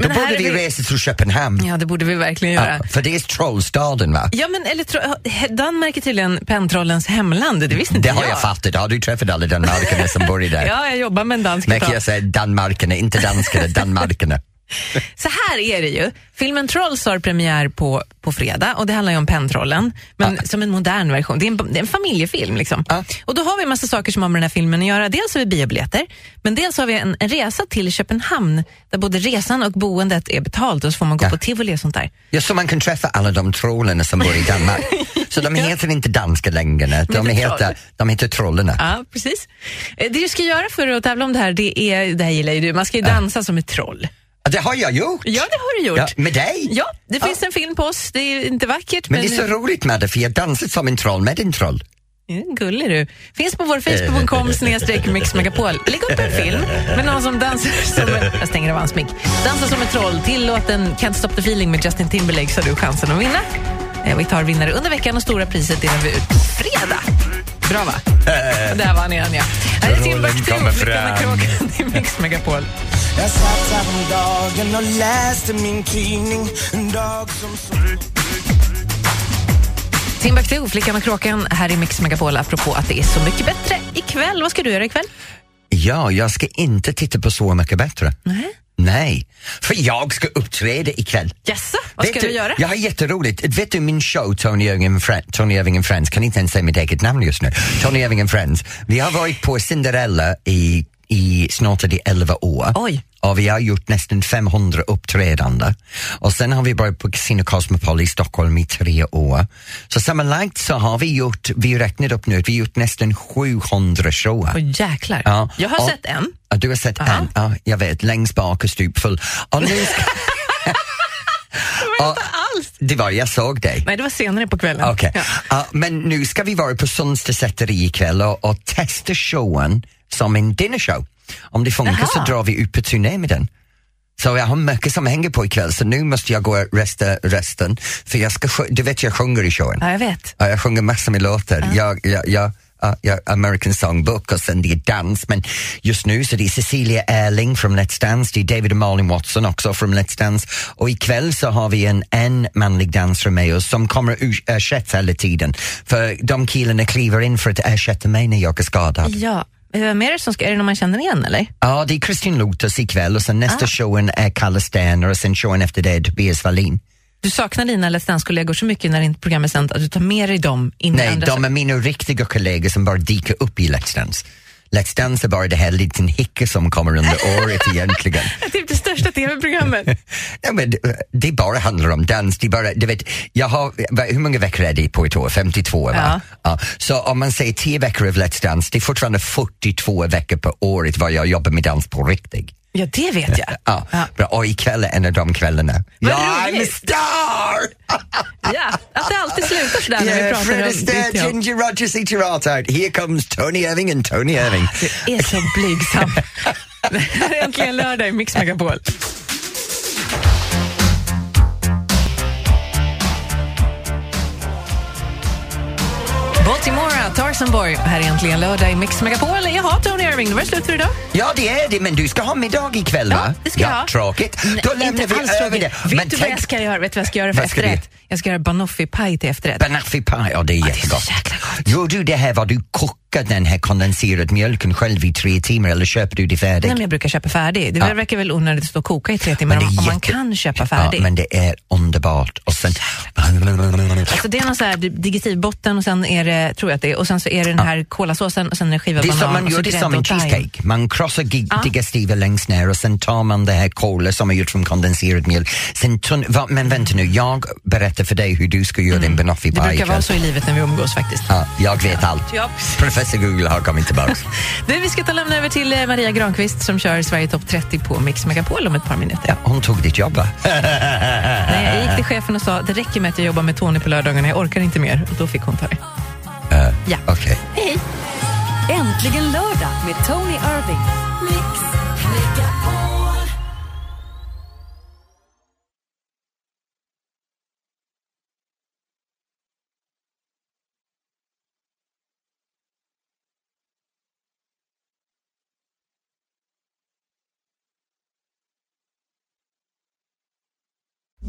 [SPEAKER 2] Då
[SPEAKER 3] Men här
[SPEAKER 2] borde
[SPEAKER 3] är
[SPEAKER 2] vi
[SPEAKER 3] vi-
[SPEAKER 2] resa till Köpenhamn.
[SPEAKER 3] Ja, det borde vi verkligen göra.
[SPEAKER 2] Ja, för det är trollstaden va?
[SPEAKER 3] Ja, men eller tro, Danmark är tydligen pentrollens hemland, det visste inte
[SPEAKER 2] Det har jag fattat. Har du träffat alla danmarkerna som bor i där?
[SPEAKER 3] Ja, jag jobbar med en dansk
[SPEAKER 2] Men kan
[SPEAKER 3] troll.
[SPEAKER 2] jag säga danmarkerna, inte danskarna, danmarkerna.
[SPEAKER 3] Så här är det ju. Filmen Trolls har premiär på, på fredag och det handlar ju om pentrollen, men som en modern version. Det är en, det är en familjefilm. Liksom. Och då har vi en massa saker som har med den här filmen att göra. Dels har vi biobiljetter, men dels har vi en, en resa till Köpenhamn där både resan och boendet är betalt och så får man gå på tivoli och sånt där.
[SPEAKER 2] Ja, så man kan träffa alla de trollen som bor i Danmark. Så de heter inte danska längre, de
[SPEAKER 3] det är troll.
[SPEAKER 2] heter, de heter trollerna.
[SPEAKER 3] Ja, precis. Eh, Det du ska göra för att tävla om det här, det, är, det här gillar ju du, man ska ju dansa som ett troll.
[SPEAKER 2] Ja, Det har jag gjort!
[SPEAKER 3] Ja, det har du gjort.
[SPEAKER 2] Ja, med dig?
[SPEAKER 3] Ja, det finns en film på oss. Det är inte vackert,
[SPEAKER 2] Men det är så roligt med det, för jag dansar som en troll med en troll.
[SPEAKER 3] Mm, Gullig du. Finns på vår Facebook.com snedstreck mixmegapol. Lägg upp en film med någon som dansar som en... Jag stänger av hans mick. Dansar som ett troll till låten Can't stop the feeling med Justin Timberlake så har du chansen att vinna. Eh, Vi tar vinnare under veckan och stora priset delar vi ut på fredag. Bra va? Där var han igen ja. Här är
[SPEAKER 15] Trollen
[SPEAKER 3] Timbuktu,
[SPEAKER 15] kommer
[SPEAKER 3] Flickan
[SPEAKER 15] fram.
[SPEAKER 3] och kråkan i Mix Megapol.
[SPEAKER 15] Jag satt häromdagen och läste min tidning En dag som sol
[SPEAKER 3] Timbuktu, Flickan och kråkan, här i Mix Megapol apropå att det är så mycket bättre ikväll. Vad ska du göra ikväll?
[SPEAKER 2] Ja, jag ska inte titta på Så mycket bättre. Nej. Nej, för jag ska uppträda ikväll.
[SPEAKER 3] Jaså, vad ska
[SPEAKER 2] Vet
[SPEAKER 3] du, göra?
[SPEAKER 2] Jag har jätteroligt. Vet du min show Tony Irving and Friends, Tony Irving and Friends kan inte ens säga mitt eget namn just nu. Tony Irving and Friends. Vi har varit på Cinderella i, i snart är det 11 år. Oj. Och vi har gjort nästan 500 uppträdande. Och sen har vi varit på Casino Cosmopol i Stockholm i tre år. Så sammanlagt så har vi gjort, vi räknade upp nu, att vi har gjort nästan 700 shower.
[SPEAKER 3] Åh, jäklar.
[SPEAKER 2] Ja.
[SPEAKER 3] Jag har
[SPEAKER 2] Och-
[SPEAKER 3] sett en.
[SPEAKER 2] Ja, du har sett en, ja, jag vet, längst bak och stupfull. Och nu ska... Och- Det var, jag såg dig.
[SPEAKER 3] Nej, det var senare på kvällen.
[SPEAKER 2] Okej. Ja, men nu ska vi vara på Sundsted Säteri ikväll och, och testa showen som en dinnershow. Om det funkar så
[SPEAKER 3] Jaha.
[SPEAKER 2] drar vi ut på turné med den. Så jag har mycket som hänger på ikväll så nu måste jag gå och resta resten. För jag ska, sjö- du vet jag sjunger i showen.
[SPEAKER 3] Ja, jag vet.
[SPEAKER 2] Ja, jag sjunger massor med låtar. Jag, jag, jag, ja, jag, American Songbook och sen det är dans. Men just nu så det är Cecilia Erling från Let's Dance, det är David och Malin Watson också från Let's Dance. Och ikväll så har vi en, en manlig dansare med oss som kommer att ur- ersätts hela tiden. För de killarna kliver in för att ersätta mig när jag är skadad.
[SPEAKER 3] Ja. Vem är det som ska, är det någon man känner igen eller?
[SPEAKER 2] Ja, det är Kristin Luthers ikväll och sen nästa showen är Kalle Sterner och sen showen efter det är Tobias Wallin.
[SPEAKER 3] Du saknar dina Let's Dance-kollegor så mycket när ditt program är sänt att du tar med dig dem in i
[SPEAKER 2] Nej,
[SPEAKER 3] andra
[SPEAKER 2] de är mina riktiga kollegor som bara dyker upp i Let's Dance. Let's Dance är bara det här liten hicka som kommer under året egentligen.
[SPEAKER 3] Typ det största tv-programmet.
[SPEAKER 2] Nej, men det- det bara handlar om dans. Det bara, du vet, jag har, va- hur många veckor är det på ett år? 52 va?
[SPEAKER 3] Ja.
[SPEAKER 2] Så om man säger 10 veckor av Let's Dance, det är fortfarande 42 veckor på året vad jag jobbar med dans på riktigt.
[SPEAKER 3] Ja, det vet jag.
[SPEAKER 2] Ja, Bra. Och ikväll är en av de kvällarna.
[SPEAKER 3] Vad
[SPEAKER 2] Ja,
[SPEAKER 3] roligt.
[SPEAKER 2] I'm a star!
[SPEAKER 3] Ja, att det alltid slutar sådär när vi
[SPEAKER 2] Yeah,
[SPEAKER 3] pratar
[SPEAKER 2] Fred
[SPEAKER 3] om
[SPEAKER 2] Astaire,
[SPEAKER 3] ditt jobb.
[SPEAKER 2] Ginger Rogers, eat your heart out. Here comes Tony Irving and Tony Irving.
[SPEAKER 3] Du är så blygsam. Det här är äntligen lördag i Mix Megapol. Baltimore, Tarzan Boy. Här är äntligen lördag i Mix Megapol. Jaha, Tony Irving, då var det slut för idag.
[SPEAKER 2] Ja, det är det, men du ska ha middag ikväll, va?
[SPEAKER 3] Det ska jag ha.
[SPEAKER 2] Tråkigt.
[SPEAKER 3] Nej,
[SPEAKER 2] Då lämnar
[SPEAKER 3] inte
[SPEAKER 2] vi
[SPEAKER 3] alls
[SPEAKER 2] över
[SPEAKER 3] tråkigt.
[SPEAKER 2] det.
[SPEAKER 3] Vet
[SPEAKER 2] men
[SPEAKER 3] du vad
[SPEAKER 2] tänk
[SPEAKER 3] jag ska göra? Vet du vad jag ska göra för
[SPEAKER 2] Vad ska du
[SPEAKER 3] efterrätt? Jag ska göra banoffee-paj till efterrätt.
[SPEAKER 2] Banoffee pie, ja det är jättegott. Gör du det här vad du kokar den här kondenserade mjölken själv i tre timmar eller köper du det färdigt?
[SPEAKER 3] Nej, men jag brukar köpa färdig. Det
[SPEAKER 2] Ja.
[SPEAKER 3] verkar väl onödigt att stå och koka i tre timmar om,
[SPEAKER 2] det är
[SPEAKER 3] om man
[SPEAKER 2] jätte-
[SPEAKER 3] kan köpa färdig.
[SPEAKER 2] Ja, men det är underbart. Och sen...
[SPEAKER 3] Alltså det är någon så här digestivbotten och sen är det, tror jag att det är, och sen så är det den här kolasåsen och sen är det skivad
[SPEAKER 2] Det är
[SPEAKER 3] banan.
[SPEAKER 2] som man
[SPEAKER 3] och så
[SPEAKER 2] gör det
[SPEAKER 3] grädde
[SPEAKER 2] som en
[SPEAKER 3] och thyme.
[SPEAKER 2] cheesecake. Man krossar gig-
[SPEAKER 3] Ja.
[SPEAKER 2] digestiven längst ner och sen tar man det här kolet som är gjort från kondenserad mjölk. Sen tunn, va, men vänta nu, jag berättar för dig hur du ska göra din banoffee
[SPEAKER 3] Mm. Det
[SPEAKER 2] pie
[SPEAKER 3] brukar vara
[SPEAKER 2] ikväll.
[SPEAKER 3] så i livet när vi umgås faktiskt.
[SPEAKER 2] Ja, jag vet allt.
[SPEAKER 3] Ja.
[SPEAKER 2] Professor Google har kommit tillbaka.
[SPEAKER 3] Du, vi ska ta och lämna över till eh, Maria Granqvist som kör Sverige Topp 30 på Mix Megapol om ett par minuter.
[SPEAKER 2] Hon tog ditt jobb va?
[SPEAKER 3] Nej, jag
[SPEAKER 2] Äh.
[SPEAKER 3] gick till chefen och sa det räcker med att jag jobbar med Tony på lördagarna, jag orkar inte mer. Och då fick hon ta det.
[SPEAKER 2] Eh,
[SPEAKER 3] Ja.
[SPEAKER 2] Okej.
[SPEAKER 1] Hej! Äntligen lördag med Tony Irving. Mix Megapol.